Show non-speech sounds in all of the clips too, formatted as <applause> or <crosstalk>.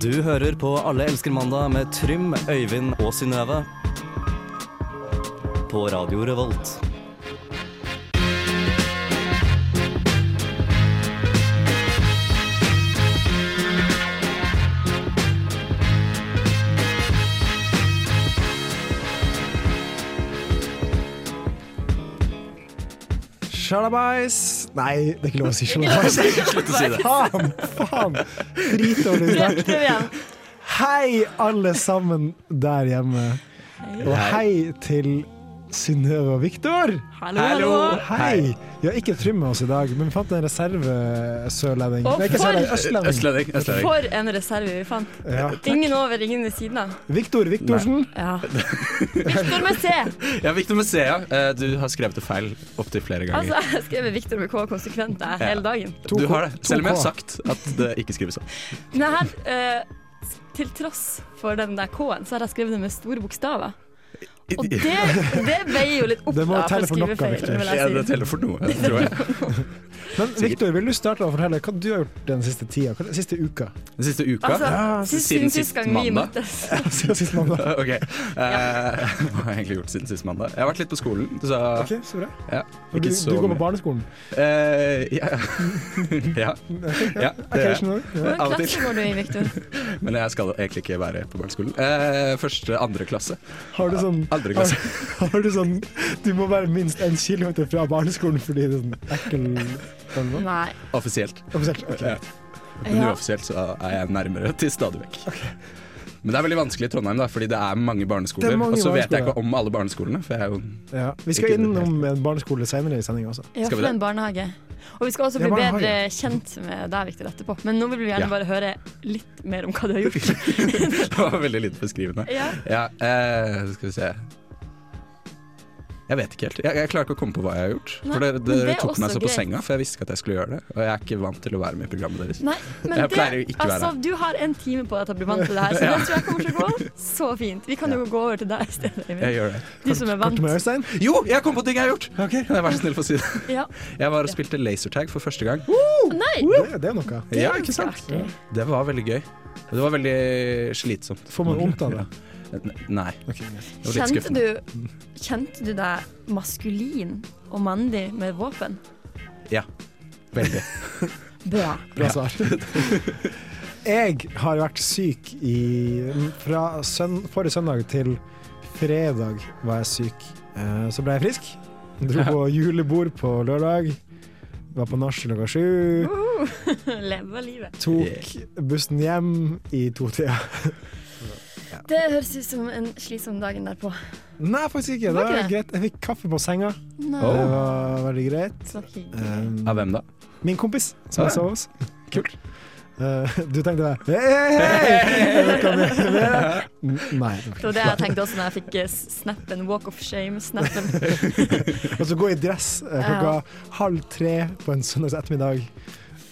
Du hører på Alle elsker mandag med Trym, Øyvind og Synnøve. På Radio Revolt. Shalabais Nei, det er ikke lov å si shalabais. Slutt å si det. Faen! faen. Dritdårlig start. Prøv igjen. Hei, alle sammen der hjemme. Og hei til Synnøve og Viktor. Hallo, hallo. Hei! Vi har ikke Trym med oss i dag, men vi fant en reservesørlending. Å, Nei, ikke for- sørlending, østlending. Østlending. Østlending. For en reserve vi fant. Ja. Ingen over, ingen ved siden av. Viktor Viktorsen. Ja. Viktor med C. Ja, Victor Musea, eh, du har skrevet det feil opptil flere Altså, ganger. jeg har skrevet Viktor med K konsekvent jeg, hele dagen. to du K- har det, to selv om jeg K. har sagt at det ikke skrives sånn. Men jeg har, eh, til tross for den der K-en, så har jeg skrevet det med store bokstaver. <laughs> <laughs> Og det, det veier jo litt opp Det må da, for telle å for skrive noe, feil, Victor. vil Ja, det jeg si. teller for noe, tror jeg. Men Viktor, vil du starte å fortelle hva du har gjort den siste tida? Hva, siste uka? Den siste uka Altså, Ja, siden, siden sist sist gang vi mandag. møttes. <laughs> Siden sist mandag. Ok. eh, <laughs> hva har jeg egentlig gjort siden sist mandag? Jeg har vært litt på skolen, så Ok, så bra. ja, For Du, ikke så du går mye. på barneskolen? Eh, ja. <laughs> <laughs> ja. ja, det gjør jeg. Occasionally. Ja. Hvilken Av og til. klasse går du i, Viktor? Men jeg skal egentlig ikke være på barneskolen. Eh, første, andre klasse. Har du sånn Andre klasse. Har du sånn Du må være minst en kilometer fra barneskolen fordi det er sånn ekkel følelse? Nei. Offisielt. Offisielt, ok. Ja. Men Ja. uoffisielt så er jeg nærmere til stadig vekk. Men det er veldig vanskelig i Trondheim, da, fordi det er mange barneskoler. Det er mange og så vet jeg barneskoler. ikke om alle barneskolene. For jeg er jo <laughs> Ja. Vi Ikke skal innom en barneskole senere i sendinga også. Ja, Skal vi for det? en barnehage. Og vi skal også Ja, bli barnehage. bedre kjent med deg, Victor, etterpå. Men nå vil vi gjerne Ja. bare høre litt mer om hva du har gjort. Det var veldig lite beskrivende. Ja. <laughs> Ja, eh, skal vi se Jeg vet ikke helt. Jeg, jeg klarer ikke å komme på hva jeg har gjort. Nei, for Dere, men dere det er tok meg også så på greit. senga, for jeg visste ikke at jeg skulle gjøre det. Og jeg er ikke vant til å være med i programmet deres. Nei, men Jeg det, pleier jo ikke å være altså, Du har en time på deg til å bli vant til det <laughs> her, så det tror jeg kommer til å gå så fint. Vi kan jo gå over til deg i stedet, Emil. Jeg gjør det. Du som er Kort vant. med Øystein? Jo, jeg kom på ting jeg har gjort! Kan jeg være så snill for å si det? Ja. Jeg var og spilte lasertag for første gang. Nei! Det, det er noe. det er Oh! Ja, ganske ikke sant? artig. Det var veldig gøy. Det var veldig slitsomt. Får man vondt <laughs> av det? Ja. Nei. Ok. Det var litt Kjente skuffende. du, kjente du deg maskulin og mandig med våpen? Ja. <laughs> Veldig. Bra. Bra svar. Jeg har vært syk i Fra søn, forrige søndag til fredag var jeg syk. Eh, Så ble jeg frisk. Dro på julebord på lørdag. Var på nach klokka sju. <laughs> Leve livet. Tok bussen hjem i to-tida. Det høres ut som en slitsom dagen derpå. Nei, faktisk ikke. Det Var var ikke det? greit. Jeg fikk kaffe på senga. Nei. Det var veldig greit. Så hyggelig. Um, Av hvem da? min kompis som Ja. jeg sov hos. Kult. Uh, <laughs> du tenkte deg Hei, hei! hei, kom igjen. Nei. Det var det jeg tenkte også når jeg fikk eh, snappen walk of shame. Snappen. Og så gå i dress eh, klokka Ja. halv tre på en søndags ettermiddag.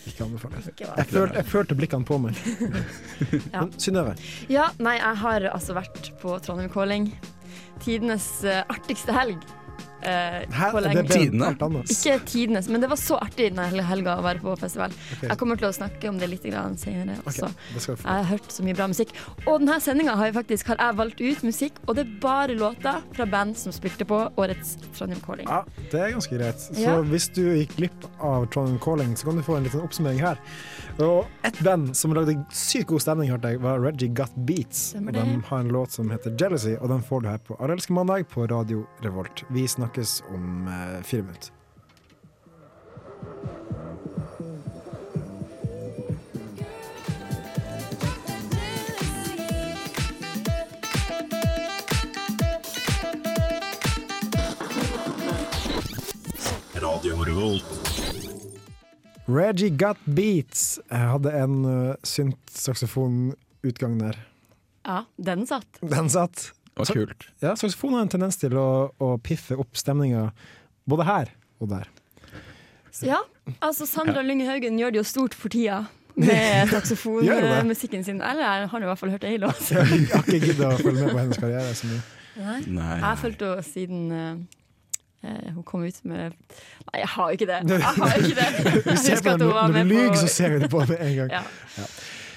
Ikke anbefales. Ikke hva. Jeg følte, jeg følte blikkene på meg. Ja. Men Synnøve, <laughs> Ja, nei, jeg har altså vært på Trondheim Calling. Tidenes eh, artigste helg. eh, her på er lenge. det bedre enn Tidene. alt annet. Ikke tidenes, men det var så artig den hele helga å være på festival. Jeg kommer til å snakke om det litt grann senere Ok, også. det skal du Jeg få. har hørt så mye bra musikk. Og denne sendinga har, jeg faktisk- har jeg valgt ut musikk, og det er bare låter fra band som spilte på årets Trondheim Calling. Ja, det er ganske greit. Så Ja. hvis du gikk glipp av Trondheim Calling, så kan du få en liten oppsummering her. Og ett band som lagde sykt god stemning, hørte jeg, var Reggie Got Beats. Stemmer Og det. de har en låt som heter 'Jealousy', og den får du her på Arelske mandag på Radio Revolt. Vi snakkes om eh, fire minutter. Reggie Got Beats Jeg hadde en uh, synt-saksofonutgang der. Ja, den satt. Den satt. Det var kult. Ja, saksofon har en tendens til å, å piffe opp stemninga både her og der. <laughs> Så ja, altså Sandra Lynge Haugen gjør det jo stort for tida. Med <laughs> Gjør hun det? saksofonmusikken sin. Eller jeg har i hvert fall hørt ei låt. Jeg har ikke gidda å følge med på hennes karriere så mye. Nei. Nei. Jeg har fulgt henne siden eh, eh, hun kom ut med Nei, jeg <laughs> har jo ikke det. Jeg har jo ikke det. Jeg Vi ser husker på at det hun var når du med lyver, på så ser vi det på med en gang. ja.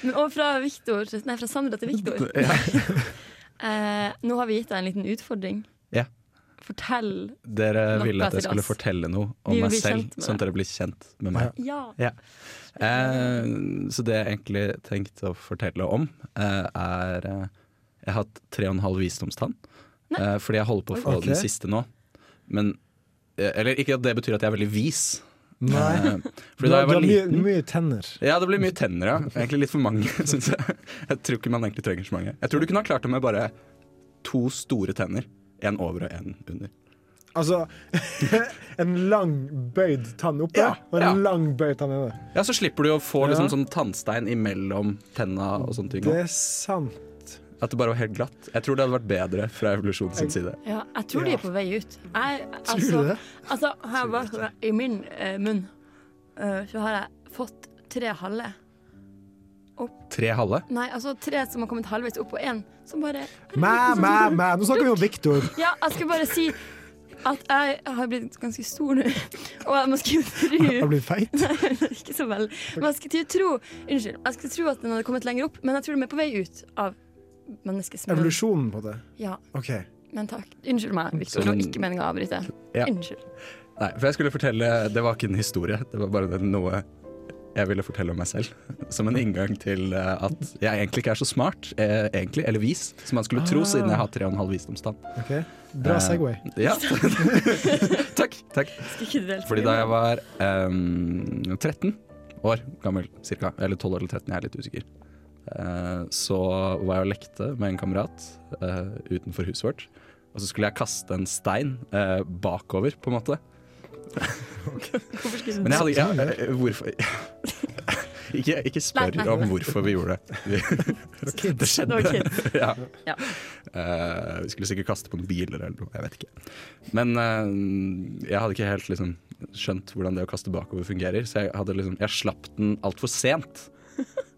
Men, og fra, Victor, nei, fra Sandra til <laughs> Viktor. Ja. <laughs> Eh, nå har vi gitt deg en liten utfordring. Ja. Fortell. Dere Nok ville at prat jeg til skulle oss. fortelle noe om Vi vil meg bli selv, kjent med sånn at dere blir kjent med meg. Ja. Eh, så det jeg egentlig tenkte å fortelle om, eh, er eh, Jeg har hatt tre og en halv visdomstann, eh, fordi jeg holder på å få Ok. den siste nå. Men eh, Eller ikke at det betyr at jeg er veldig vis. Nei. Eh, Du, fordi da har- jeg du var har mye, liten mye tenner. Ja, det blir mye tenner, ja. Egentlig litt for mange, <laughs> syns jeg. Jeg tror ikke man egentlig trenger så mange. Jeg tror du kunne ha klart det med bare to store tenner. Én over og én under. Altså <laughs> en lang bøyd tann oppe Ja, og en ja. lang bøyd tann nede. Ja, så slipper du å få liksom Ja. sånn tannstein imellom tenna og sånne ting. Det også. er sant. At det bare var helt glatt. Jeg tror det hadde vært bedre fra evolusjonens side. Ja, jeg tror de er på vei ut. Jeg, Tror du altså, det? altså, har jeg bare, I min eh, munn eh, så har jeg fått tre halve. Tre halve? Nei, altså tre som har kommet halvveis opp, og én som bare sånn Mæ, mæ, mæ. Nå snakker vi om Viktor. Ja, jeg skal bare si at jeg har blitt ganske stor nå, <laughs> og jeg må <laughs> skulle tro Har blitt feit. Ikke så veldig. Men jeg skal tro Unnskyld. Jeg skal tro at den hadde kommet lenger opp, men jeg tror de er på vei ut av menneskets munn. Evolusjonen på det. Ja, OK. men takk. Unnskyld meg, Victor. Så- Sånn- Det var ikke meningen å avbryte. Ja. Unnskyld. Nei, for jeg skulle fortelle Det var ikke en historie, det var bare noe jeg ville fortelle om meg selv. <laughs> Som en inngang til eh, at jeg egentlig ikke er så smart, eh, egentlig, eller vis, som man skulle tro, Ah. siden jeg har tre og en halv visdomstann. ok Bra Eh, Segway. Ja. <laughs> takk, takk. Skal ikke du delta? Fordi da jeg var ehm, 13 år gammel, cirka, eller 12 år eller 13, jeg er litt usikker, eh, så var jeg og lekte med en kamerat eh, utenfor huset vårt. Og så skulle jeg kaste en stein eh, bakover, på en måte. Hvorfor skulle sånn du Men jeg hadde ja, eh, Hvorfor <laughs> ikke, ikke spør Nei, nei, om nei. hvorfor vi <laughs> gjorde det. <laughs> Vi- Det skjedde. Det var kids. <laughs> ja. Ja. Eh, vi skulle sikkert kaste på noen biler eller noe, jeg vet ikke. Men eh, jeg hadde ikke helt liksom, skjønt hvordan det å kaste bakover fungerer, så jeg, hadde, liksom, jeg slapp den altfor sent.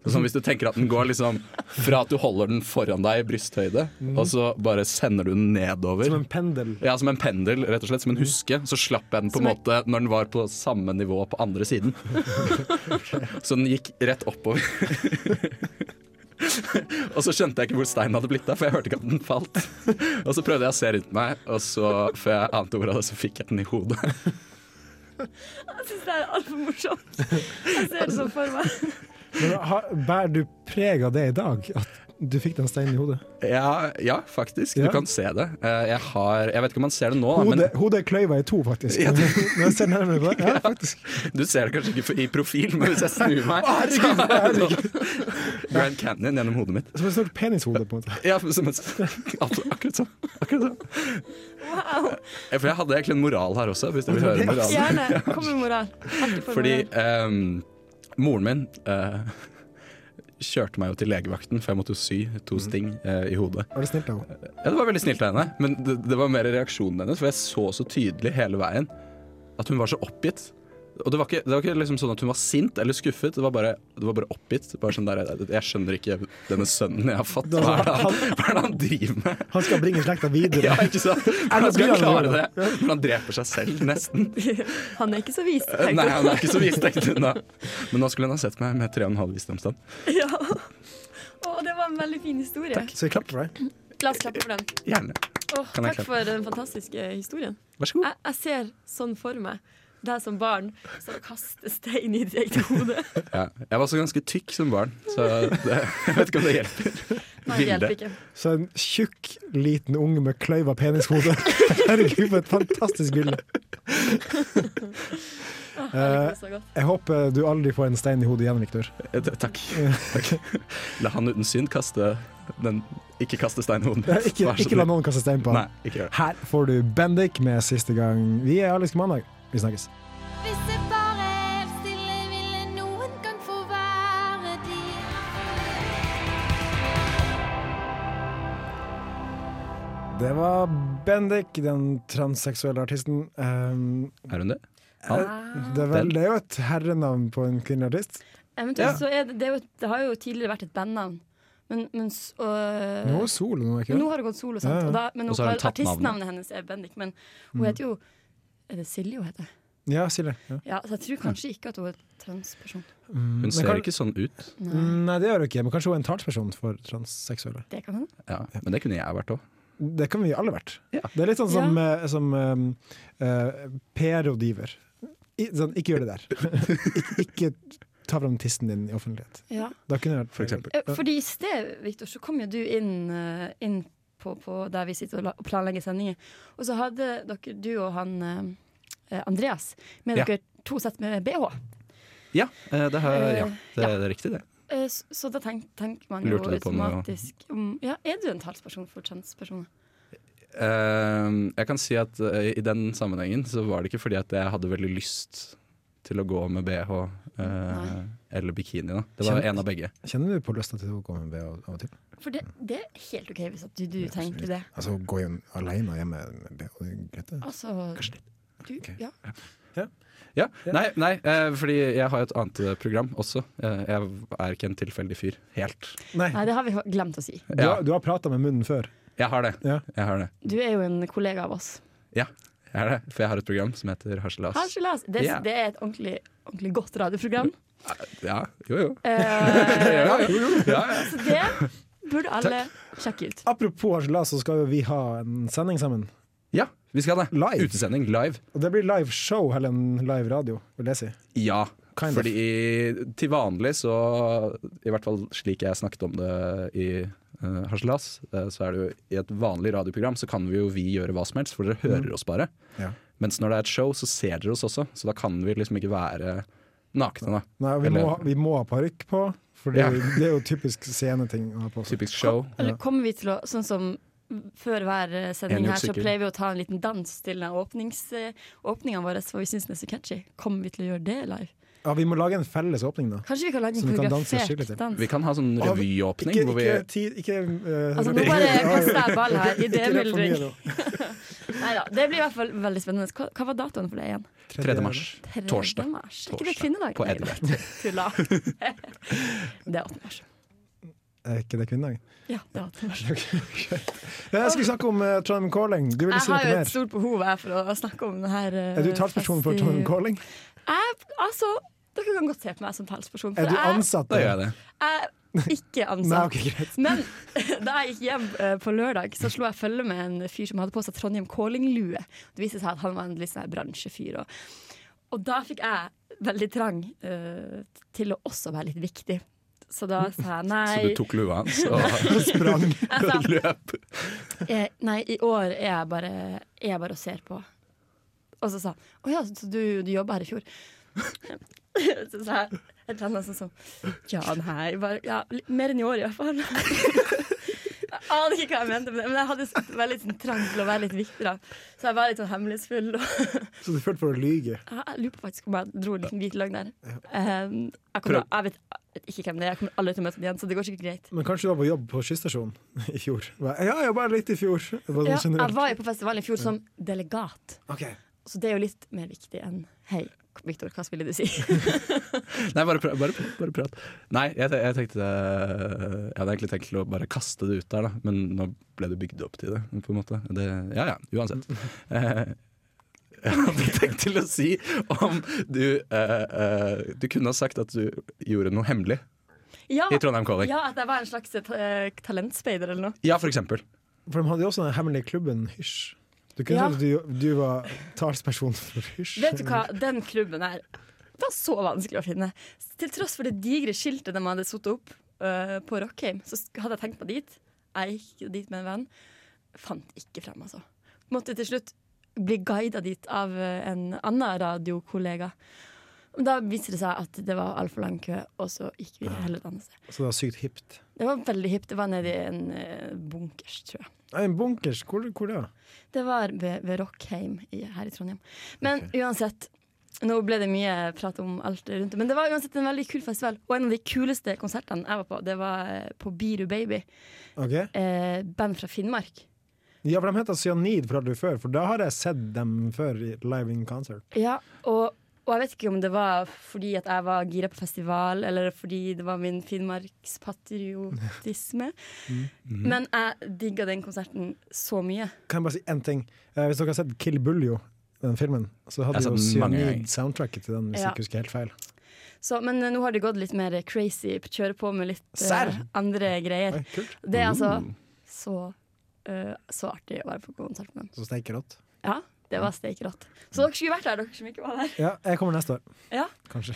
Sånn hvis du tenker at den går liksom fra at du holder den foran deg i brysthøyde, og så bare sender du den Mm. Som nedover. en pendel. Ja, Som en pendel, rett og slett, som en huske. Så slapp jeg den på Som en en- måte når den var på samme nivå på andre siden. <laughs> Så den gikk rett oppover. <laughs> og så skjønte jeg ikke hvor steinen hadde blitt av, for jeg hørte ikke at den falt. Og så prøvde jeg å se rundt meg, og så før jeg ante ordet av det, så fikk jeg den i hodet. <laughs> Jeg syns det er altfor <laughs> morsomt. Jeg ser det sånn for meg. Men har, bærer du preg av det i dag? At du fikk den steinen i hodet? Ja, ja faktisk. Ja. Du kan se det. Eh, Jeg har Jeg vet ikke om man ser det nå, da, Hodet, hodet er kløyva i to, faktisk. Ja, det- <laughs> Når jeg ser nærmere på det. Ja, faktisk. men <laughs> du ser det kanskje ikke i profil, men hvis jeg snur meg så er det sånn <laughs> Grand Canyon gjennom hodet mitt. Som et stort penishode, på en måte. Ja, som et, akkurat akkurat sånn. Akkurat sånn. Wow. Eh, For jeg hadde egentlig en moral her også, hvis dere vil høre moralen. Gjerne. Kom med moral. Artig for Fordi moral. ehm, moren min eh, kjørte meg jo til legevakten, for jeg måtte jo sy to sting eh, i hodet. Var det snilt av henne? Ja, Det var veldig snilt av henne, men det, det var mer reaksjonen hennes, for jeg så så tydelig hele veien at hun var så oppgitt. Og det var ikke, det var ikke liksom sånn at hun var sint eller skuffet, det var bare, det var bare oppgitt. Bare sånn der, jeg skjønner ikke denne sønnen jeg har fått, hva er det han, hva er det han driver med? Han skal bringe slekta videre. <laughs> Ja, ikke sant? Erna Hvordan skal han Byrne klare gjorde det? Når han dreper seg selv, <laughs> nesten. Han er ikke så vis. tenkte Eh, Nei, jeg. han er ikke så vis, tenkte hun da. Men nå skulle hun ha sett meg med tre og en halv visdomstann. <laughs> Ja. Å, det var en veldig fin historie. Så jeg klapper for deg. La oss klappe for den. Gjerne. Åh, Kan jeg takk klappe? for den fantastiske historien. Vær så god. Jeg, jeg ser sånn for meg deg som barn som kaster stein i ditt eget <laughs> hode. Ja. Jeg var også ganske tykk som barn, så det, <laughs> jeg vet ikke om det hjelper. Nei, det Bilde. hjelper ikke. Så en tjukk, liten unge med kløyva penishode. Herregud, for et fantastisk bilde. Eh, Åh, jeg liker det så godt. Jeg håper du aldri får en stein i hodet igjen, Viktor. Eh, t- Takk. Takk. La han uten synd kaste den Ikke kaste steinen i hodet. Ikke, ikke la noen kaste stein på Nei, ham. ikke gjør det. Her får du Bendik med siste gang. Vi er Alisk mandag. Vi snakkes. Hvis jeg bare helt stille ville noen gang få være din. Det var Bendik, den transseksuelle artisten. Um, Er hun det? Han? det, er vel, det er jo et herrenavn på en kvinnelig artist. Ja. Eh, Eventuelt så er det, det, er jo, et- det har jo tidligere vært et bandnavn, men, men s- og- Nå er solo, nå er men ikke nå det? har det gått solo, sant? Ja, ja. Og da, men Og nå, så har hun tatt navnet. artistnavnet hennes er Bendik, men hun heter jo Er det Silje hun heter? Ja, Silje. Ja. Ja, så jeg tror kanskje ikke at hun er transperson. Mm, men Hun ser kan- ikke sånn ut. Nei, Mm, Nei, det gjør hun ikke, men kanskje hun er en talsperson for transseksuelle. det kan hende. Ja, men det kunne jeg vært òg. Det kan vi alle vært. Ja. Det er litt sånn som, eh, som eh, eh, PR-rådgiver. I- Sånn, ikke gjør det der. <laughs> Ik ikke ta fram tissen din i offentlighet. Ja. Da kunne jeg vært For eksempel. Eh, Fordi i sted, Victor, så kom jo du inn, eh, inn på, på der vi sitter og, la, og planlegger sendinger. Og så hadde dere, du og han eh, Andreas, med Ja. dere to sett med BH. Ja, eh, det, har, ja, Eh, det, det er riktig, det. Eh, Så, så da tenk, tenker man jo Lurte du på noe? automatisk om Ja, er du en talsperson for transpersoner? Eh, jeg kan si at eh, i den sammenhengen så var det ikke fordi at jeg hadde veldig lyst til å gå med bh eh, Nei. eller bikini. da Det var Kjent. en av begge. Kjenner du på lysta til å gå med BH av og til? For det, det er helt OK hvis at du, du tenker det. Altså gå hjem alene hjemme med BH, det er greit det. Altså du, ja. Ja, Nei, nei eh, fordi jeg har jo et annet eh, program også. Eh, jeg er ikke en tilfeldig fyr. Helt. Nei, Nei, det har vi glemt å si. du har, du har prata med munnen før. Jeg har det. Ja. Jeg har det. Du er jo en kollega av oss. Ja, jeg har det. For jeg har et program som heter Harselas. Harselas. Det, Ja. det er et ordentlig, ordentlig godt radioprogram. Ja, jo jo. Eh, <laughs> Ja, jo, jo. Ja, ja. så det burde alle sjekke ut. Apropos harselas, så skal jo vi ha en sending sammen. ja, vi skal det. Live. Utesending live. Og det blir live show eller en live radio, vil jeg si. Ja. Kind of. fordi i, til vanlig så, i hvert fall slik jeg snakket om det i uh, Harselas, eh, så er det jo i et vanlig radioprogram så kan vi jo vi gjøre hva som helst, Mm. for dere hører oss bare. Ja. Mens når det er et show, så ser dere oss også, så da kan vi liksom ikke være nakne, da. Nei, vi, Eller- må, ha- vi må ha parykk på, for det, Ja. er jo- det er jo typisk sceneting å ha på seg. Typisk show. Eller kommer vi til å, sånn som før hver eh, sending En her, så utsikker. pleier vi å ta en liten dans til den åpnings, eh, åpningen vår, for vi syns den er så catchy. Kommer vi til å gjøre det live? Ja, vi må lage en felles åpning, da. Kanskje vi kan lage en Så vi kan danse skikkelig koreografert til. dans? Vi kan ha sånn Av- revyåpning Ikke, hvor vi ikke, ti, ikke eh, Altså, nå <laughs> ikke- bare ja, kaster jeg ball her. I det ikke rett for mye, myldring. da. Nei da. Det blir i hvert fall veldig spennende. Hva, hva var datoen for det igjen? 3. mars. Tredje Torsdag. Mars. Er ikke det Torsdag. kvinnedag? På Nei, da. <laughs> Tulla. Det er 18. mars. Er ikke det kvinnedagen? Ja, det er 18. mars. Ja, Jeg skulle snakke om eh, Trondheim Calling. Du ville Jeg si har jo noe et eh, mer. stort behov her for å snakke om denne Er du talsperson for Trondheim Calling? Jeg, altså, dere kan godt se på meg som talsperson. Er For du jeg ansatt Da der? gjør jeg det. jeg er <laughs> ikke Nei, ansatt. ok, greit. Men <laughs> da jeg gikk hjem eh, på lørdag, så slo jeg følge med en fyr som hadde på seg Trondheim Calling-lue. Det viste seg at han var en litt sånn her bransjefyr. Og, og da fikk jeg veldig trang eh, til å også være litt viktig. Så da sa jeg Så du nei. tok lua hans og Sprang. løp. Eh, nei, i år er jeg bare, er jeg bare og ser på. Og så sa han Å ja, så du, du jobba her i fjor? <laughs> så sa jeg et eller annet sånn som Ja, nei, bare, ja, litt mer enn i år i hvert fall. <laughs> jeg aner ikke hva jeg mente med det, men jeg hadde så- veldig sånn trang til å være litt viktig. da Så jeg var litt sånn hemmelighetsfull. Og <laughs> Så du følte for å lyge. jeg jeg lurer på faktisk om jeg dro en liten hvit løgn der. Eh, jeg, kommer, jeg vet ikke hvem det er, jeg kommer aldri til å møte ham igjen, så det går sikkert greit. Men kanskje du var på jobb på skysstasjonen <laughs> i fjor? Ja, jeg var litt i fjor. Det var Ja, sånn jeg generelt. var jo på festivalen i fjor som delegat. Ok. Så det er jo litt mer viktig enn Hei, Viktor, hva ville du si? Nei, bare, pra- bare, bare prat. Nei, jeg, te- jeg tenkte eh, Jeg hadde egentlig tenkt til å bare kaste det ut der, da. Men nå ble det bygd opp til det, på en måte. Det, ja ja, uansett. Eh, <laughs> jeg hadde tenkt til å si om du eh, eh, Du kunne ha sagt at du gjorde noe hemmelig <laughs> ja, i Trondheim Calling. Ja. ja, at jeg var en slags eh, talentspeider eller noe. for eksempel. For de hadde jo også den hemmelige klubben Hysj. Du kunne Ja. sagt at du, du var talsperson for Hysj. Vet du hva, den klubben her var så vanskelig å finne. Til tross for det digre skiltet de hadde satt opp eh, på Rockheim, så sk- hadde jeg tenkt meg dit. Jeg gikk dit med en venn. Fant ikke frem, altså. Måtte til slutt bli guida dit av eh, en annen radiokollega. Da viste det seg at det var altfor lang kø, og så gikk vi heller et annet sted. Så det var sykt hipt. Det var veldig hipt. Det var nedi en eh, bunkers, tror jeg. Nei, en bunkers, hvor, hvor da? Det var ved, ved Rockheim i, her i Trondheim. Men uansett, nå ble det mye prat om alt rundt det. Men det var uansett en veldig kul festival. Og en av de kuleste konsertene jeg var på, det var eh, på Biru Baby. Ok. Eh, band fra Finnmark. Ja, for de heter Cyanid, fortalte du før, for da har jeg sett dem før i live in concert. Ja, og, og jeg vet ikke om det var fordi at jeg var gira på festival, eller fordi det var min finnmarkspatriotisme. Men jeg digga den konserten så mye. Kan jeg bare si én ting? Eh, hvis dere har sett Kill Buljo, den filmen, så hadde Jeg har jo sett den mange ganger. Cyanid-soundtracket til den, hvis Ja. jeg ikke husker helt feil. Så, men eh, nå har det gått litt mer crazy, kjøre på med litt eh, Serr? andre greier. Oi, Mm. kult. Det er altså så, eh, så artig å være på konsert med dem. Så steike rått. Ja, det var steike rått. Så dere skulle vært der, dere som ikke var der. Ja, jeg kommer neste år, Ja, kanskje.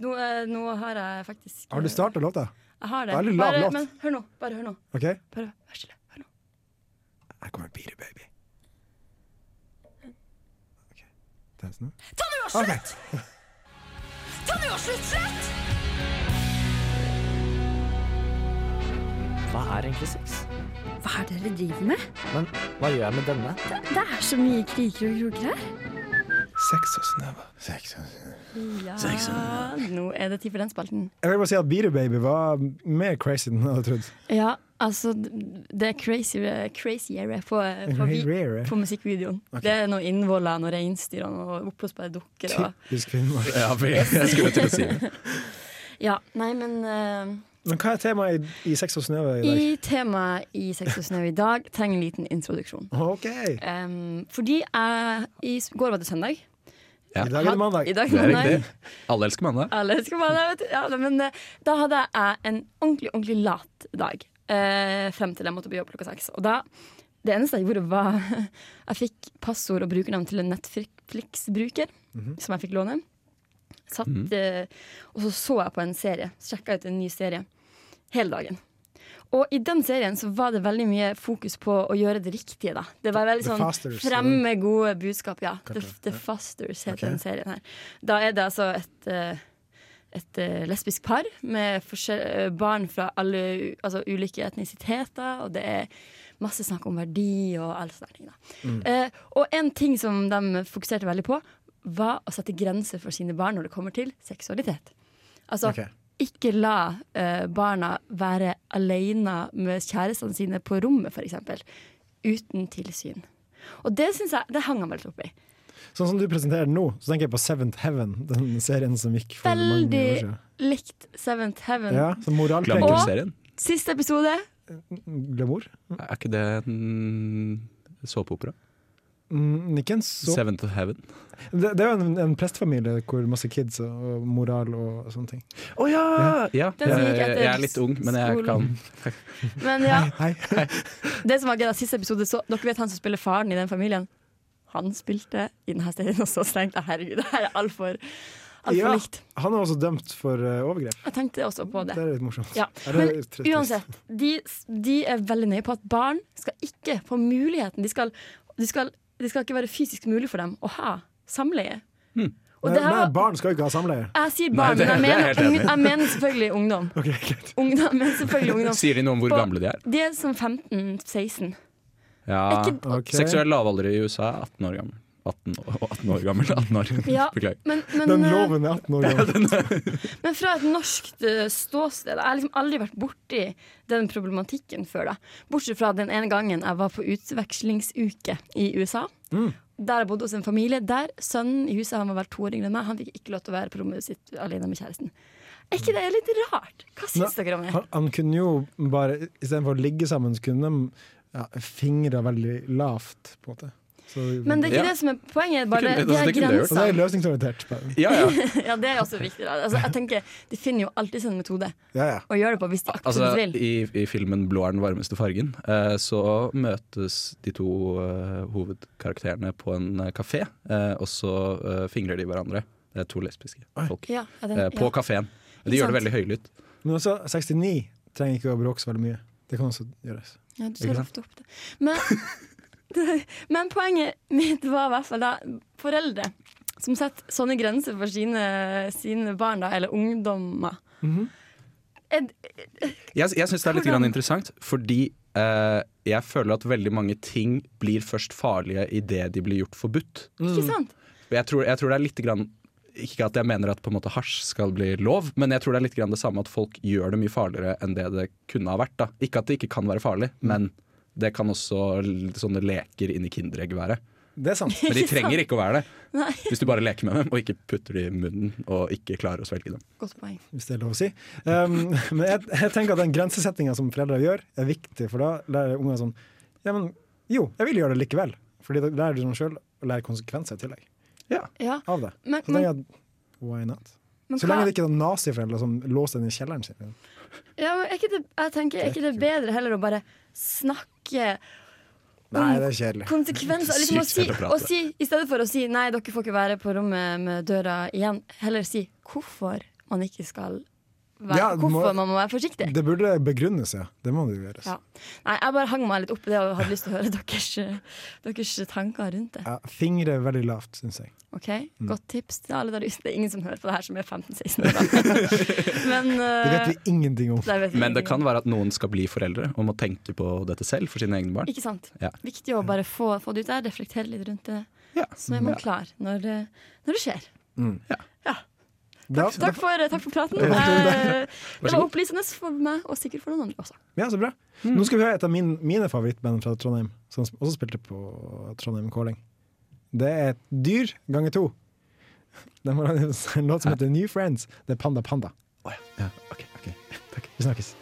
nå, eh, nå har jeg faktisk eh, Har du starta låta? Jeg har det. Veldig lav Bare, låt. men hør nå. Bare hør nå. OK? Her Bare vær stille. Hør nå. kommer Peter Baby. Ok. Dans nå. Ok. Hva er egentlig sex? Hva er det dere driver med? Men hva gjør jeg med denne? Det er så mye kriker og kroker her. Sex og snøva. Sex og snøva. Ja, nå er det tid for den spalten. Jeg vil bare si at Beater Baby var mer crazy enn jeg hadde trodd. Ja, altså d- Det er crazy, craziere på, eh, på, vi, Rare. på musikkvideoen. Det er noe innvoller og reinsdyr og noe oppblåsbare dukker. Og, Typisk Finnmark. Ja, for jeg, jeg skulle til å si det. ja, nei, men eh, Men hva er temaet i, i Sex og snøva i dag? I temaet i Sex og snø i dag trenger en liten introduksjon. OK. Em, fordi jeg I s- går var det søndag. Ja. I dag er det mandag. I dag Det er mandag. riktig. Alle elsker mandag. Alle elsker mandag, vet du. Ja, da, men eh, da hadde jeg en ordentlig, ordentlig lat dag. eh, frem til jeg måtte på jobb klokka seks. Og da Det eneste jeg gjorde, var <laughs> Jeg fikk passord og brukernavn til en Netflix-bruker Mhm. som jeg fikk låne. Satt, eh, og så så jeg på en serie. Sjekka ut en ny serie hele dagen. Og i den serien så var det veldig mye fokus på å gjøre det riktige, da. Det var veldig The sånn Fosters, fremme gode budskap, ja. The, Kanskje, the ja. Fosters heter Ok. den serien her. Da er det altså et eh, et eh, lesbisk par med forskjell- eh, barn fra alle u- altså, ulike etnisiteter, og det er masse snakk om verdi og alle sånne ting. Da. Mm. Eh, og en ting som de fokuserte veldig på, var å sette grenser for sine barn når det kommer til seksualitet. Altså, Ok. ikke la eh, barna være alene med kjærestene sine på rommet, f.eks. Uten tilsyn. Og det synes jeg, det hang han veldig opp i. Sånn som du presenterer den nå, så tenker jeg på Seventh Heaven, den serien som gikk for mange år Veldig siden. likt Seventh Heaven. Ja, som moralpreker. Og- Glamour-serien. Siste episode Glamour? Er ikke det en såpeopera? Mm, ikke en så Seventh Heaven. Det, det er jo en, en prestfamilie hvor masse kids og moral og sånne ting. Å ja! ja. Den som gikk jeg, etter jeg er litt ung, men jeg skolen. kan Men ja, Hei. det som var gøy da, siste episode så, Dere vet han som spiller faren i den familien? Han spilte i denne serien også, så tenkte jeg herregud, det her er altfor <laughs> alt for Ja. likt. Han er også dømt for eh, overgrep. Jeg tenkte også på Det det. er litt morsomt. Ja. Er det Men litt trist? uansett, de, de er veldig nøye på at barn skal ikke få muligheten. De skal, de skal, det skal ikke være fysisk mulig for dem å ha samleie. Og Nei, det her nei, var- barn skal jo ikke ha samleie. <laughs> jeg sier barn, Hm. Nei, det- men det er jeg jeg helt mener, enig unge- jeg mener selvfølgelig ungdom. Ok, greit. ungdom men <laughs> <laughs> selvfølgelig ungdom. Sier de noe om hvor På- gamle de er? De er som 15-16. Ja. Er ikke- Ok. Seksuell lavalder i USA er 18 år gammel. 18 år, 18 år gammel. 18 år. Ja, <laughs> Beklager. men, men, Den eh, loven er 18 år gammel. Men fra et norsk eh, ståsted Jeg har liksom aldri vært borti den problematikken før. da Bortsett fra den ene gangen jeg var på utvekslingsuke i USA. Mm. Der jeg bodde hos en familie der sønnen i huset han var vel to år yngre enn meg. Han fikk ikke lov til å være på rommet sitt alene med kjæresten. Er ikke det litt rart? Hva syns dere om det? Han, han kunne jo bare, istedenfor å ligge sammen, så kunne de ja, fingra veldig lavt, på en måte. Så, Men det er ikke Ja. det som er poenget. Bare Det kunne- de altså, her det kunne jeg gjort. og det er grensene. løsningsorientert. på det. Ja, ja. <laughs> Ja, det er også viktig. Da. Altså, jeg tenker, De finner jo alltid sin metode Ja, ja. å gjøre det på hvis de aktivt Altså, vil. i, I filmen 'Blå er den varmeste fargen' eh, så møtes de to eh, hovedkarakterene på en eh, kafé, eh, og så eh, fingrer de hverandre. Det er to lesbiske folk. Ja, ja, den, Eh, ja. på kafeen. De Ikke gjør det sant? veldig høylytt. Men også 69 trenger ikke å bråke så veldig mye. Det kan også gjøres. Ja, du Ikke skal sant? løfte opp det. Men, <laughs> det. men poenget mitt var i hvert fall da foreldre som setter sånne grenser for sine, sine barn, da, eller ungdommer. Ed- Jeg, jeg syns det er litt Hvordan? grann interessant, fordi eh, jeg føler at veldig mange ting blir først farlige idet de blir gjort forbudt. Ikke sant? Og Jeg tror, jeg tror det er litt grann ikke at jeg mener at på en måte hasj skal bli lov, men jeg tror det er litt grann det samme at folk gjør det mye farligere enn det det kunne ha vært. Da. Ikke at det ikke kan være farlig, men det kan også l- sånne leker inni kinderegg være. Det er sant. Men de Ikke sant? trenger ikke å være det, Nei. hvis du bare leker med dem og ikke putter de i munnen og ikke klarer å svelge dem. Godt poeng. Hvis det er lov å si. Um, men jeg, jeg tenker at den grensesettinga som foreldre gjør, er viktig, for da lærer ungene sånn Ja, men jo, jeg vil gjøre det likevel. Fordi da lærer du deg sjøl å lære konsekvenser i tillegg Ja, av det. men, Så men, lenge, at- why not? men Så hva- lenge det ikke er naziforeldre som låser den i kjelleren sin. Ja, men er ikke det, jeg tenker, er ikke det bedre heller å bare snakke Nei, det er kjedelig. konsekvenser? Liksom å Sykt si, fett å prate. å si, I stedet for å si nei, dere får ikke være på rommet med døra igjen, heller si hvorfor man ikke skal være Ja, du må- Hvorfor man må være forsiktig. Det burde begrunnes, ja. Det må det jo gjøres. Ja. Nei, jeg bare hang meg litt opp i det og hadde lyst til å høre deres, <laughs> deres tanker rundt det. Ja, fingre er veldig lavt, syns jeg. Ok, Godt tips til alle der ute. Det er ingen som hører på det her som er 15-16 år. da. men Det eh, vet vi ingenting om. det vet vi Men det ingenting kan om. være at noen skal bli foreldre og må tenke på dette selv for sine egne barn. Ikke sant? Ja. Viktig å bare få, få det ut der, reflektere litt rundt det. Ja. Så er man klar når, eh, når det skjer. Da- Takk for, takk for praten. Eh, Det var opplysende for meg, og sikkert for noen andre også. Ja, så bra. Nå skal vi høre et av min, mine favorittband fra Trondheim, som også spilte på Trondheim Calling. Det er et dyr ganger to. De har en låt som heter New Friends. Det er Panda Panda. Å ja. ja. Ok, ok. Takk. Vi snakkes.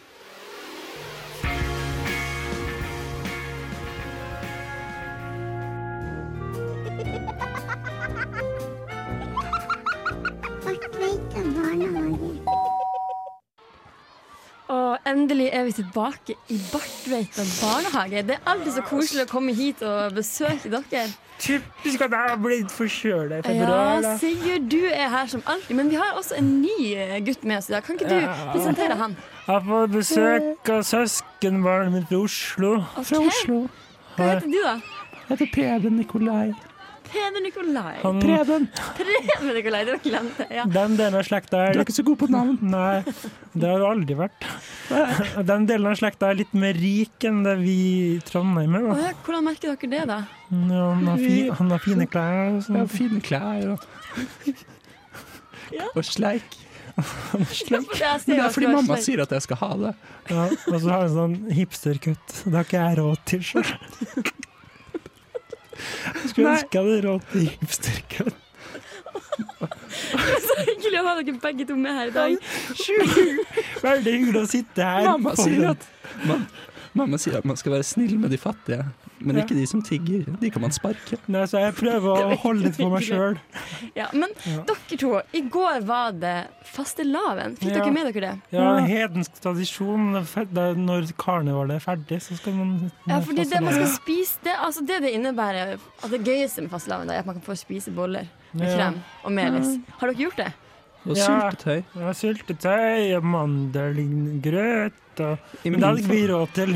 Og endelig er vi tilbake i Bartveita barnehage. Det er alltid så koselig å komme hit og besøke dere. Typisk at jeg har blitt forkjøla i Ja, Sigurd, du er her som alltid. Men vi har også en ny eh, gutt med oss i dag. Kan ikke du presentere han? Jeg har fått besøk av søskenbarnet mitt fra Oslo. Fra Oslo. Hva heter du, da? Jeg heter Preben Nikolai. Peder Nikolai. Preben! Preben Nikolai, det var glemt. det, Ja. Den delen av slekta er Du er ikke så god på navn. Nei, det har du aldri vært. Den delen av slekta er litt mer rik enn det vi i Trondheim er. Å da. ja, Hvordan merker dere det, da? Ja, Han har, fi, han har fine klær og sånn. Fine klær og Og sleik. Ja, for jeg ser Men det jo er at du fordi har mamma sløyd. sier at jeg skal ha det. Ja, og så har han sånn hipsterkutt. Det har ikke jeg råd til sjøl. <laughs> Skulle ønske jeg hadde råd til hipsterkutt. <laughs> Så hyggelig å ha dere begge to med her i dag. Veldig hyggelig å sitte her. Mamma for sier en- at man, mamma sier at man skal være snill med de fattige, men ikke de som tigger. De kan man sparke. Nei, så jeg prøver å holde det for meg sjøl. Ja, men dere to, i går var det fastelavn. Fikk Ja. dere med dere det? Ja, en hedensk tradisjon. Det er fer- det er Når karnevalet er ferdig, så skal man Ja, fordi sånn det man skal spise Det, altså det, det innebærer at det gøyeste med fastelavn da, er at man kan få spise boller med Ja. krem og melis. Har dere <laughs> gjort det? Og Ja. syltetøy. Ja, Syltetøy og mandelingrøt og I Men det hadde min ikke vi råd til.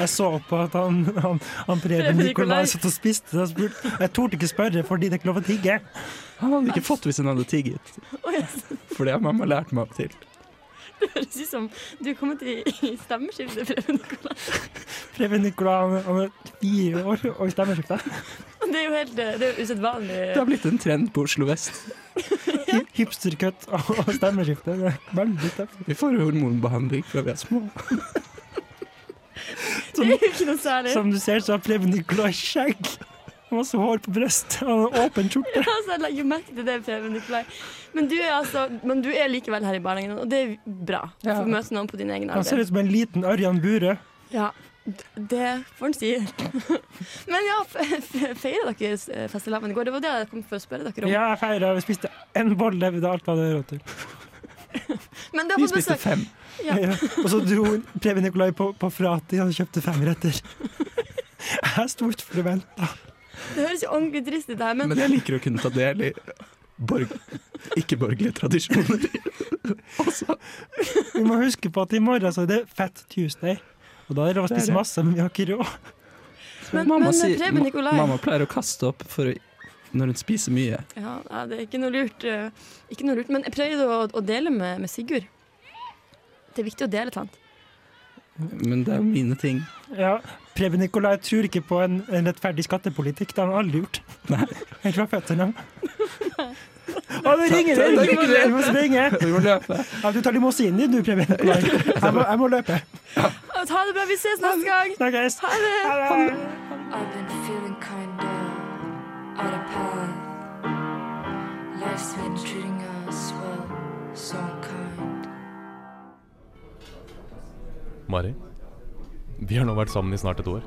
Jeg så på at han, han, han Preben Nikolai Nikolai. satt og spiste. og Jeg, spurte, jeg torde ikke spørre fordi det er ikke lov å tigge. fa- Han hadde ikke fått hvis han hadde tigget. <laughs> For det har mamma lært meg opp til. Høres ut som du er kommet i, i stemmeskiftet, Preben Nikolai. Preben Nikolai han, han er fire år og i stemmeskiftet. Det er jo helt eh, Det er jo usedvanlig. Det har blitt en trend på Oslo vest. Hi- Hipsterkutt og og stemmeskifte. Det er Veldig tøft. Vi får hormonbehandling fra vi er små. <laughs> Det er jo ikke noe særlig. <laughs> Som du ser, så har Preben Nikolai skjegg. Og masse hår på brystet og en åpen skjorte. Altså, jeg legger jo merke til det, Preben Nikolai. Men du er, altså, men du er likevel her i barnehagen, og det er bra. Ja. Få møte noen på din egen Han alder. ser ut som en liten Ørjan Burøe. Ja, d- det får en si. <laughs> Men ja, feira dere eh, fastelavn i går? Det var det jeg kom for å spørre dere om. Ja, jeg feira og spiste én bolle. Det er alt jeg hadde råd til. Men du har Vi fått spiste besøk. fem. Ja. Ja. Og så dro Preben Nikolai på, på Frati og kjøpte femretter. Jeg er stort forvent. Det høres jo ordentlig trist ut, det her, men Men jeg liker å kunne ta del i borg ikke-borgerlige tradisjoner. Vi må huske på at i morgen så er det Fat Tuesday. Og da er det lov å spise masse, men vi har ikke råd. Men- mamma, men sier, Preben ma- Nikolai- mamma pleier å kaste opp for å, når hun spiser mye. ja, nei, det er ikke noe lurt. eh, Ikke noe lurt. Men jeg prøvde å, å dele med, med Sigurd. Det er viktig å dele, tant. Men det er jo mine ting. Ja, Preben Nikolai tror ikke på en, en rettferdig skattepolitikk. Det har han aldri gjort. Nei. Helt fra <laughs> føttene av. Å, det ringer! Det ringer! Jeg må springe! Vi må løpe. Ja, du tar limousin din, du, Preben <laughs> Nikolai. Jeg må, jeg må løpe. Å, Ha det bra, vi ses neste gang! Snakkes! Ha det! Ha det! I've been feeling kinda out of path. Life's been treating us well, so unkind. Mari, vi har nå vært sammen i snart et år.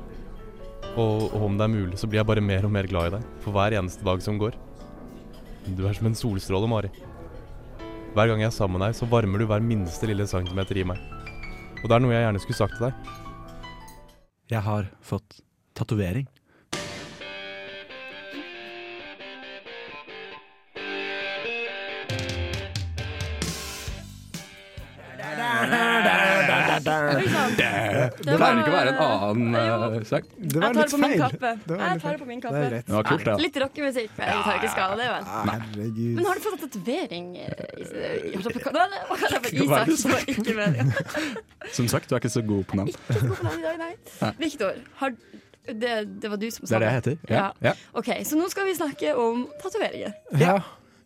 Og Og, og om det er mulig, så blir jeg bare mer og mer glad i deg for hver eneste dag som går. Du er som en solstråle, Mari. Hver gang jeg er sammen med deg, så varmer du hver minste lille centimeter i meg. Og det er noe jeg gjerne skulle sagt til deg. Jeg har fått tatovering. Det pleier ikke å være en annen eh, sang. Det Jeg var litt tar det på min feil. kappe. Det var veldig Jeg tar det feil. på min Det kappe. er greit. Det var kult, Ja, da. Litt rockemusikk. men Jeg tar ikke skala, det, vel. Herregud. Men har du fått en tatovering? eh, i- Hva kaller jeg for Hva er Isak? det som var Ikke med Som sagt, du er ikke så god på navn. Ikke god på navn i dag, nei. Victor, har, det, det var du som Det sa er det jeg heter. Ja. ja. OK, så nå skal vi snakke om tatoveringer. Ja.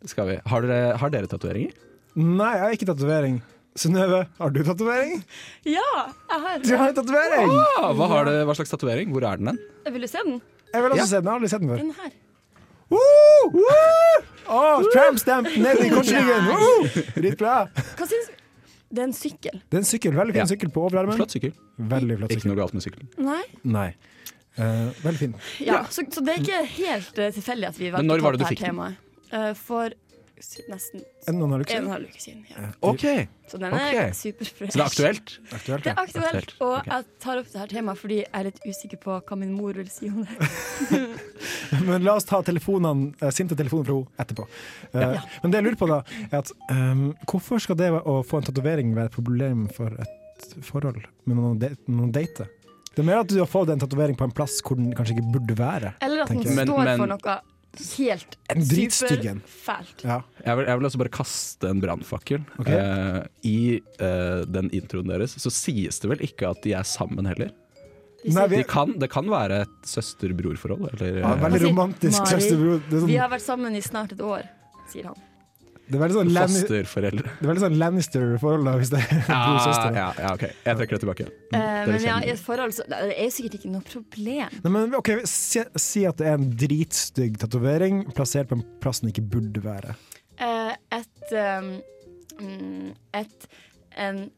Skal vi. Har dere, har dere tatoveringer? Nei, jeg har ikke tatovering. Synnøve, har du tatovering? Ja, jeg har Du har tatovering! Ah, hva, har du- hva slags tatovering? Hvor er den hen? Vil du se den? Jeg vil også Ja. se den. Jeg har aldri sett den før. Den her. Woo! Woo! Åh, tramp stamp ned i korsryggen! Woo! Dritbra. Hva syns Det er en sykkel. Det er en sykkel. Veldig fin Ja. sykkel på overarmen. Flott sykkel. Veldig flott Ikke sykkel. noe galt med sykkelen. Nei? Nei. Eh, veldig fin. Ja, så, så det er ikke helt eh, tilfeldig at vi valgte Men når å ta var det opp du fikk her den? temaet. Eh, for s- nesten En og en halv uke en og en siden. halv uke siden. Ja. Ok, Så den er Ok. superfresh. Så det er aktuelt? Aktuelt, Det ja. er aktuelt, Aktuelt, og ok. jeg tar opp det her temaet fordi jeg er litt usikker på hva min mor vil si om det. Men la oss ta telefonene, eh, sinte telefoner fra henne etterpå. Eh, Men det jeg lurer på, da, er at ehm, hvorfor skal det å få en tatovering være et problem for et forhold med noen å de- noen å date? Det er mer at du har fått en tatovering på en plass hvor den kanskje ikke burde være. Eller at den Tenker jeg. Men- står men- for noe helt En dritstygg en. superfælt. Ja. Jeg vil, jeg vil også bare kaste en brannfakkel. Ok. Eh, I eh, den introen deres så sies det vel ikke at de er sammen heller. Nei, vi, De kan, det kan være et søster-bror-forhold, eller ja, eh, veldig Altså, romantisk Mari, søsterbror. Det, er Vi sånn, har vært sammen i snart et år, sier han. det er veldig sånn, Lanni- <laughs> fosterforeldre. det er veldig sånn Lannister-forhold, da, hvis det er to Ja, søstre. ja, ja, ok. Jeg trekker det tilbake. Eh, Dere men ja, kjenner. i et forhold så Det er jo sikkert ikke noe problem. Nei, men, ok, si, si at det er en dritstygg tatovering plassert på en plass den ikke burde være. Eh, et um, mm, Et En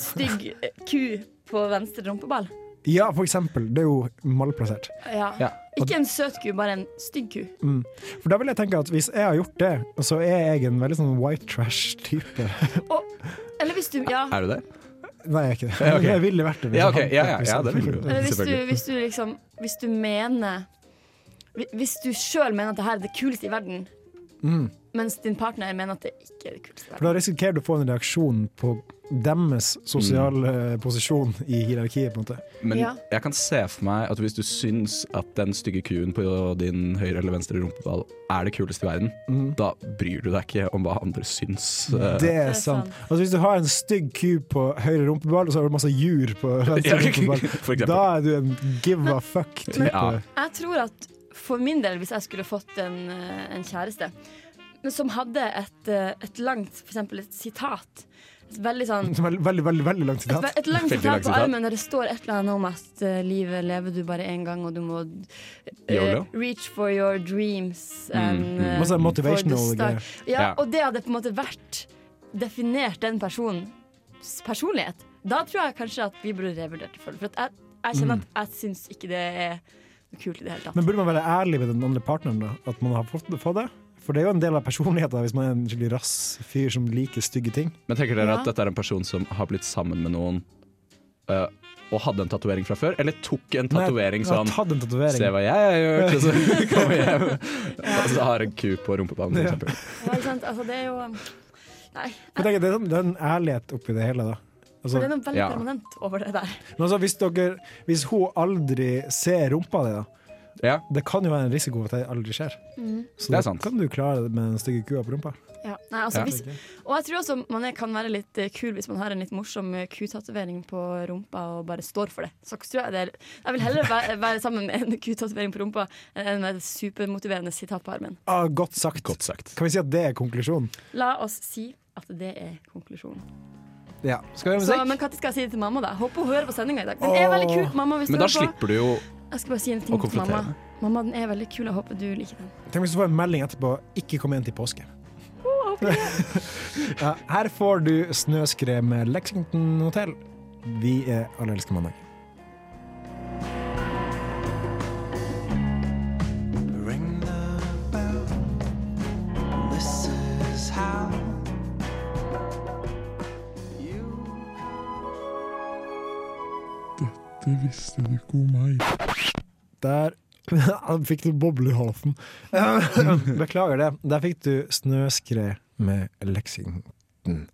stygg eh, ku på venstre rumpeball. Ja, for eksempel. Det er jo malplassert. Ja. Ja. Ikke en søt ku, bare en stygg ku. For da vil jeg tenke at hvis jeg har gjort det, så er jeg en veldig sånn white trash-type. Eller hvis du Ja. Er du det? Nei, jeg er ikke det. <laughs> Ja, ok. Jeg ville vært det. hvis Ja, jeg ok. hadde- Ja, ja, hvis ja, jeg- det vil du. Eller hvis du, Selvfølgelig. hvis du liksom Hvis du mener hvi- Hvis du sjøl mener at det her er det kuleste i verden, <laughs> Mm. mens din partner mener at det ikke er det kuleste i For verden. da risikerer du å få en reaksjon på deres sosiale eh, Mm. posisjon i hierarkiet, på en måte. Men Ja. jeg kan se for meg at hvis du syns at den stygge kuen på din høyre eller venstre rumpeball er det kuleste i verden, da bryr du deg ikke om hva andre syns. eh. Det er sant. Altså, hvis du har en stygg ku på høyre rumpeball, og så har du masse jur på venstre <laughs> Ja, rumpeball, for eksempel. da er du en give a fuck-type. Ja. Jeg tror at for min del, hvis jeg skulle fått en, eh, en kjæreste men som hadde et, eh, et langt, for eksempel et sitat Et veldig <laughs> sånn Som er Veldig, veldig, veldig langt et, sitat. ve- et langt Veldig sitat langt på sitat. armen der det står et eller annet om at eh, livet lever du bare én gang, og du må eh, YOLO? reach for your dreams and Mm, mm. eh, Masse for the motivational start. greier. Ja, Ja. og det hadde på en måte vært definert den personens personlighet. Da tror jeg kanskje at vi burde revurdert det. For for at jeg, jeg Mm. kjenner at jeg syns ikke det er noe kult i det hele tatt. Men burde man være ærlig med den andre partneren da? At man har fått, fått det? For det er jo en del av personligheten hvis man er en skikkelig rass fyr som liker stygge ting. Men tenker dere Ja. at dette er en person som har blitt sammen med noen eh, og hadde en tatovering fra før, eller tok en tatovering Nei, jeg har sånn Tatt en Se tatovering. hva jeg har gjort, og <laughs> så kommer jeg hjem og så har en ku på rumpeballen. for Ja. eksempel. Ja, ikke sant? Altså, det er jo um, Nei. Men tenk, det, er, sånn- det er en ærlighet oppi det hele, da. Det Altså, er noe veldig Ja. permanent over det der. men altså, hvis, dere, hvis hun aldri ser rumpa di, da Ja. Det kan jo være en risiko at det aldri skjer. Så Mm. Det er da sant. kan du klare det med den stygge kua på rumpa. Ja. Nei, altså, Ja. hvis, og jeg tror også man er, kan være litt eh, kul hvis man har en litt morsom eh, kutatovering på rumpa og bare står for det. Så tror jeg det er Jeg vil heller være, <laughs> være sammen med en kutatovering på rumpa enn med et supermotiverende sitat på armen. Ah, godt sagt. Godt sagt. Kan vi si at det er konklusjonen? La oss si at det er konklusjonen. Ja. Skal vi Så, men når skal jeg si det til mamma? da? Håper hun hører på sendinga i dag. Den er veldig kul, mamma. hvis du Men da hører på. slipper du jo Jeg skal bare si en å ting til konfrontere mamma. Mamma, den er veldig kul. Jeg håper du liker den. Tenk hvis du får en melding etterpå 'ikke kom igjen til påske'. <laughs> Ja, Her får du snøskred med Lexington Hotel. Vi er Alle elsker mandag. Dette visste du ikke om meg. Der <laughs> fikk du boble i halsen. Beklager det. Der fikk du Snøskred med Lexington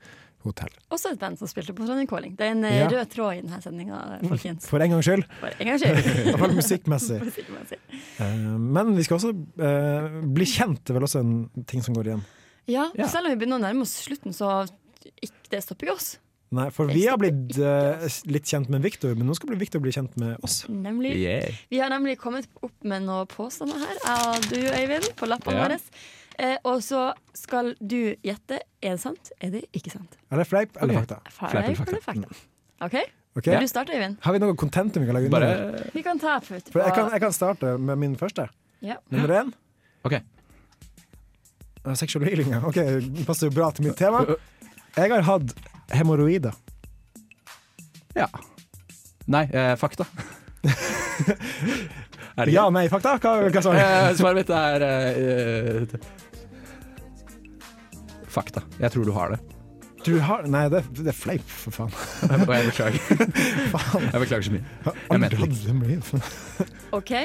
Hotel. Også et band som spilte på Trondheim Calling. Det er en eh, Ja. rød tråd i denne sendinga, folkens. For en gangs skyld. For en gangs skyld. <laughs> I hvert fall musikkmessig. Musikkmessig. Eh, Men vi skal også eh, bli kjent, det er vel også en ting som går igjen. Ja, Ja. selv om vi begynner å nærme oss slutten, så ikke, det stopper ikke oss. Nei, for vi har blitt eh, litt kjent med Victor, men nå skal bli Victor bli kjent med oss. Nemlig. Vi har nemlig kommet opp med noen påstander her, jeg og du, Øyvind, på lappene Ja. våre. Eh, og så skal du gjette. Er det sant? Er det ikke sant? Er det fleip eller fakta? Fleip eller fakta? OK? Ok. Vil du starte, Øyvind? Har vi noe content vi kan lage Bare- under? Vi kan ta putt For jeg kan, jeg kan starte med min første. Ja. Nummer én. Ok. Eh, Sexual healing, ja. Ok, det passer jo bra til mitt tema. Jeg har hatt hemoroider. Ja. Nei, eh, <laughs> fakta. er det Ja, nei, fakta? Hva, hva sa Eh, du? Svaret mitt er eh, eh, Fakta. Jeg tror du har <laughs> det. Du har Nei, det, det er fleip, for <laughs> faen. Og jeg beklager. Jeg beklager så mye. Jeg mente det ikke. Hemoroider. OK.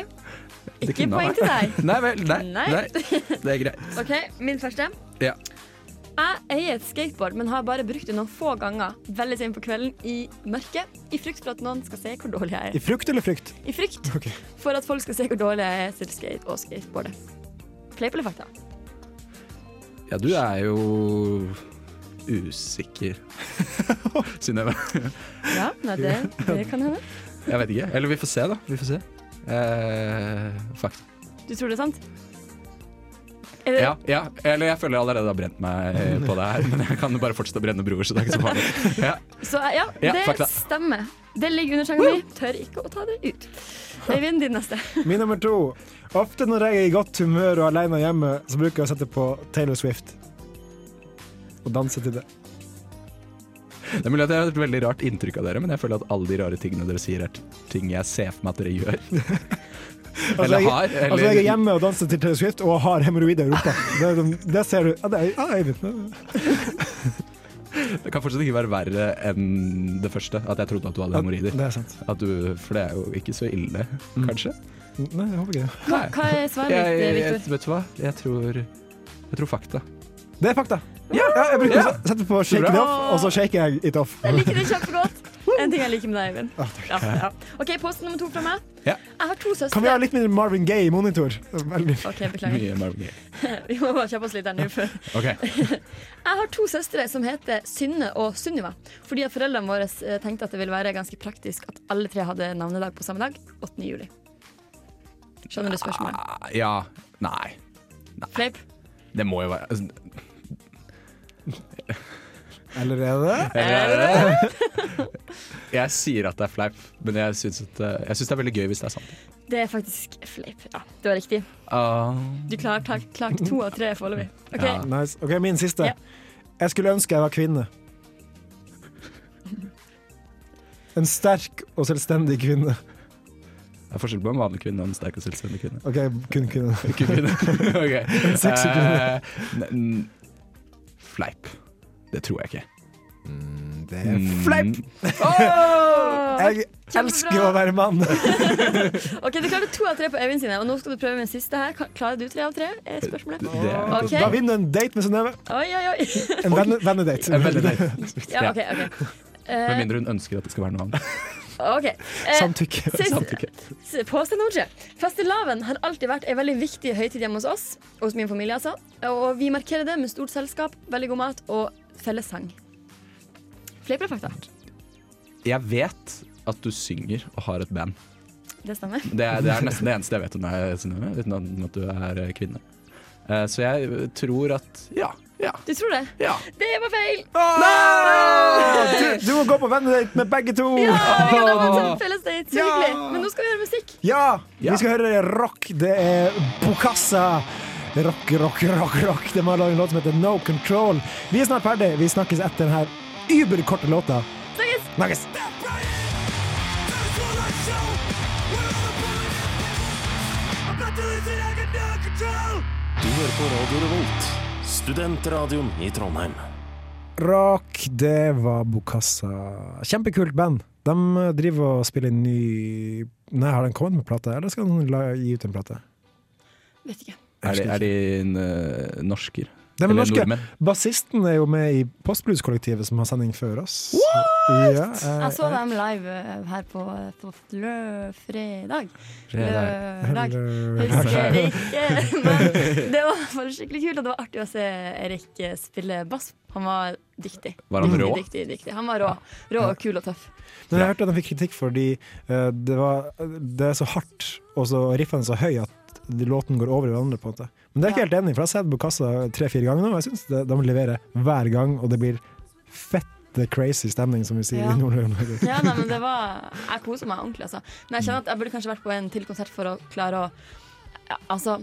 Det Ikke kunne ha poeng vært. til <laughs> deg. Nei vel. Nei. nei. Nei. Det er greit. OK, min første. Ja. Jeg eier et skateboard, men har bare brukt det noen få ganger veldig sent på kvelden i mørket, i frykt for at noen skal se hvor dårlig jeg I er. frukt eller frykt? I frykt <laughs> for at folk skal se hvor dårlig jeg er til skate og skateboardet. Fleip eller fakta? Ja, du er jo <laughs> usikker, Synnøve. Ja, nei, det, <laughs> det kan hende. Jeg vet ikke. Eller vi får se, da. Vi får se. Eh, fakta. Du tror det er sant? Er det, Ja, ja. Eller jeg føler jeg allerede har brent meg eh, på det her. Men jeg kan jo bare fortsette å brenne broer, så det er ikke så <laughs> farlig. Ja. Så ja, Ja, det fakta. stemmer. Det ligger under senga mi. Tør ikke å ta det ut. Øyvind, din neste. Min nummer to. Ofte når jeg er i godt humør og alene hjemme, så bruker jeg å sette på Taylor Swift. Og danse til det. Det er mulig at jeg har et veldig rart inntrykk av dere, men jeg føler at alle de rare tingene dere sier, er ting jeg ser for meg at dere gjør. <laughs> Altså, Eller jeg, har. Eller altså, jeg er hjemme og danser til Taylor Swift og har hemoroider i rumpa. Det, er sånn- det ser du. Ja, det er, ja, jeg vet. Det kan fortsatt ikke være verre enn det første, at jeg trodde at du hadde hemoroider. Det er sant. At du, for det er jo ikke så ille, Mm. kanskje. Nei, jeg håper ikke det. Hva, hva er svaret Jeg, ditt, jeg, Viktor? vet du hva, jeg tror, jeg tror fakta. Det er fakta. Ja, jeg bruker å sette på shake Bra. it off, og så shaker jeg it off. Jeg liker det kjempegodt. En ting jeg liker med deg, Øyvind. Ja, ja. OK, post nummer to fra meg. Ja. Jeg har to søstre. Kan vi ha litt mindre Marvin Gaye i monitor? Veldig. Ok, beklager. Mye Marvin Gaye. <laughs> Vi må bare kjappe oss litt her nå. før- Jeg har to søstre som heter Synne og Sunniva. Fordi at foreldrene våre eh, tenkte at det ville være ganske praktisk at alle tre hadde navnedag på samme dag. 8. juli. Skjønner du spørsmålet? Ja. Nei. Fleip? Det må jo være altså, Eller er det det? Eller er <laughs> Jeg sier at det er fleip, men jeg syns, at, eh, jeg syns det er veldig gøy hvis det er sant. Det er faktisk fleip. Ja, det var riktig. Ah, Du klarte klart to av tre foreløpig. OK. Ja, nice. OK, min siste. Jeg skulle ønske jeg var kvinne. En sterk og selvstendig kvinne. det er forskjell på en vanlig kvinne og en sterk og selvstendig kvinne. OK, kun kvinne. Ikke kvinne. <laughs> <laughs> Ok. En sexy kvinne. Eh, ne- n- fleip. Det tror jeg ikke. Mm, Mm, det er fleip. Jeg elsker å være mann. OK, du klarte to av tre på Øyvind sine, og nå skal du prøve med den siste her. Ka- Klarer du tre av tre? Er spørsmålet. Ok. Da vinner du en date med Synnøve. Oi, oi, <laughs> oi. En venne- vennedate. En vennedate. Ja, OK. ok. Med Eh, mindre hun ønsker at det skal være noe annet. OK. Eh, Samtykke. sist- Samtykke. S- Påstand nummer tre. Fastelavn har alltid vært en veldig viktig høytid hjemme hos oss. og Hos min familie, altså. Og vi markerer det med stort selskap, veldig god mat og fellessang. Fleip eller fakta? Jeg vet at du synger og har et band. Det stemmer. Det er, det er nesten det eneste jeg vet om deg, Synnøve, uten at du er eh, kvinne. Eh, Så jeg tror at ja. ja. Du tror det? Ja. Det var feil! Ah, Du, du må gå på vennedate med begge to. Ja, vi kan ha en felles date. Så hyggelig. Men nå skal vi høre musikk. Ja, vi skal høre rock. Det er Bokassa. Rock, rock, rock, rock. De har laget en låt som heter No Control. Vi er snart ferdig. Vi snakkes etter denne überkorte låta. Snakkes! Snakkes. Du hører på Radio Revolt, studentradioen i Trondheim. Rock, det var Bokassa. Kjempekult band. De eh, driver og spiller en ny Nei, har de kommet med plate, eller skal de la- gi ut en plate? Vet ikke. Er de, er de en, eh, norsker? De er Eller norske. nordmenn? Bassisten er jo med i Postblues-kollektivet som har sending før oss. Ja, eh, Jeg så dem live eh, her på, på lø- fredag. Fredag. Lørdag. Lørdag. Husker ikke. <laughs> Men det var bare skikkelig kult, og det var artig å se Erik eh, spille bass. Han var dyktig. Var han Dyktig, rå? Dyktig, dyktig. Han var rå. Rå og kul og tøff. Men jeg hørte at de fikk kritikk fordi eh, det, var, det er så hardt, og så riffene så høy at de- låten går over hverandre. på en måte. Men det er jeg ikke helt enig i, for jeg har sett Bokassa tre-fire ganger nå, og jeg syns de leverer hver gang, og det blir fette crazy stemning, som vi sier Ja. i Nord-Norge. <laughs> Ja, nei, men det var Jeg koser meg ordentlig, altså. Men jeg kjenner at jeg burde kanskje vært på en til konsert for å klare å ja, Altså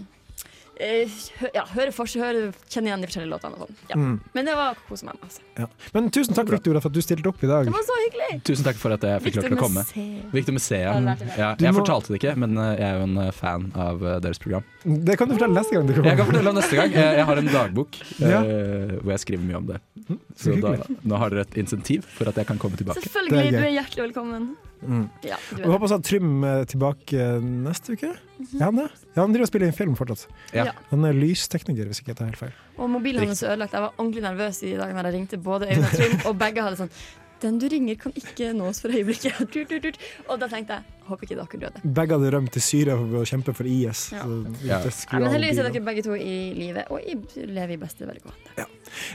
eh, hø- ja, høre forskjell, høre, kjenne igjen de forskjellige låtene og sånn. Ja. Mm. Men det var kose meg med, altså. Ja. Men tusen takk, Victoria, for at du stilte opp i dag. Det var så hyggelig! Tusen takk for at jeg fikk lov til å Victor komme. Museet. Victor Museet. Ja, det er det. Ja, Du jeg må- fortalte det ikke, men eh, jeg er jo en eh, fan av eh, deres program. Det kan du fortelle neste gang du kommer. Jeg kan fortelle om neste gang. Jeg, jeg har en dagbok <laughs> eh, Ja. Hm, hvor jeg skriver mye om det. så Så da, hyggelig. nå har dere et insentiv for at jeg kan komme tilbake. Selvfølgelig, Det er du gøy. er hjertelig velkommen. Mm. Ja, du Vi er. håper også at Trym er tilbake eh, neste uke. Mhm. Ja, han er. Ja, han driver og spiller inn film fortsatt. Ja. Ja. Han er lystekniker, hvis ikke jeg tar helt feil. Og mobilen hans er ødelagt. Jeg var ordentlig nervøs i dag når jeg ringte både Øyvind og Trym, og begge hadde sånn Den du ringer, kan ikke nås for øyeblikket. <laughs> Tut, tut, tut. Og da tenkte jeg håper ikke dere døde. Begge hadde rømt til Syria for å kjempe for IS. Ja. Så Ja. det Nei, skulle men alle heldigvis er bli. dere begge to i live, og i, lever i beste velgående.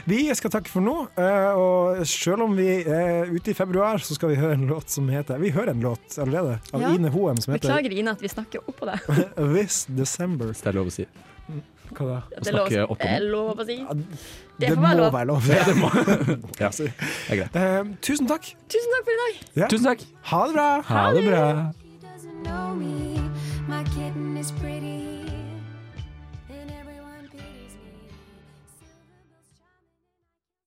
Vi skal takke for nå, eh, og selv om vi er ute i februar, så skal vi høre en låt som heter Vi hører en låt allerede, av Ja. Ine Hoem, som heter Beklager, Ine, at vi snakker <laughs> oppå deg. This December. Det er lov å si. Hva da? Det er lov, snakke oppå det er den. lov å si. Det, får må være lov. være lov. Ja, det må. <laughs> <laughs> Ja, det er greit. Eh, tusen takk. Tusen takk for i dag. Tusen takk. Ha det bra. Ha det bra. doesn't know me. My kitten is pretty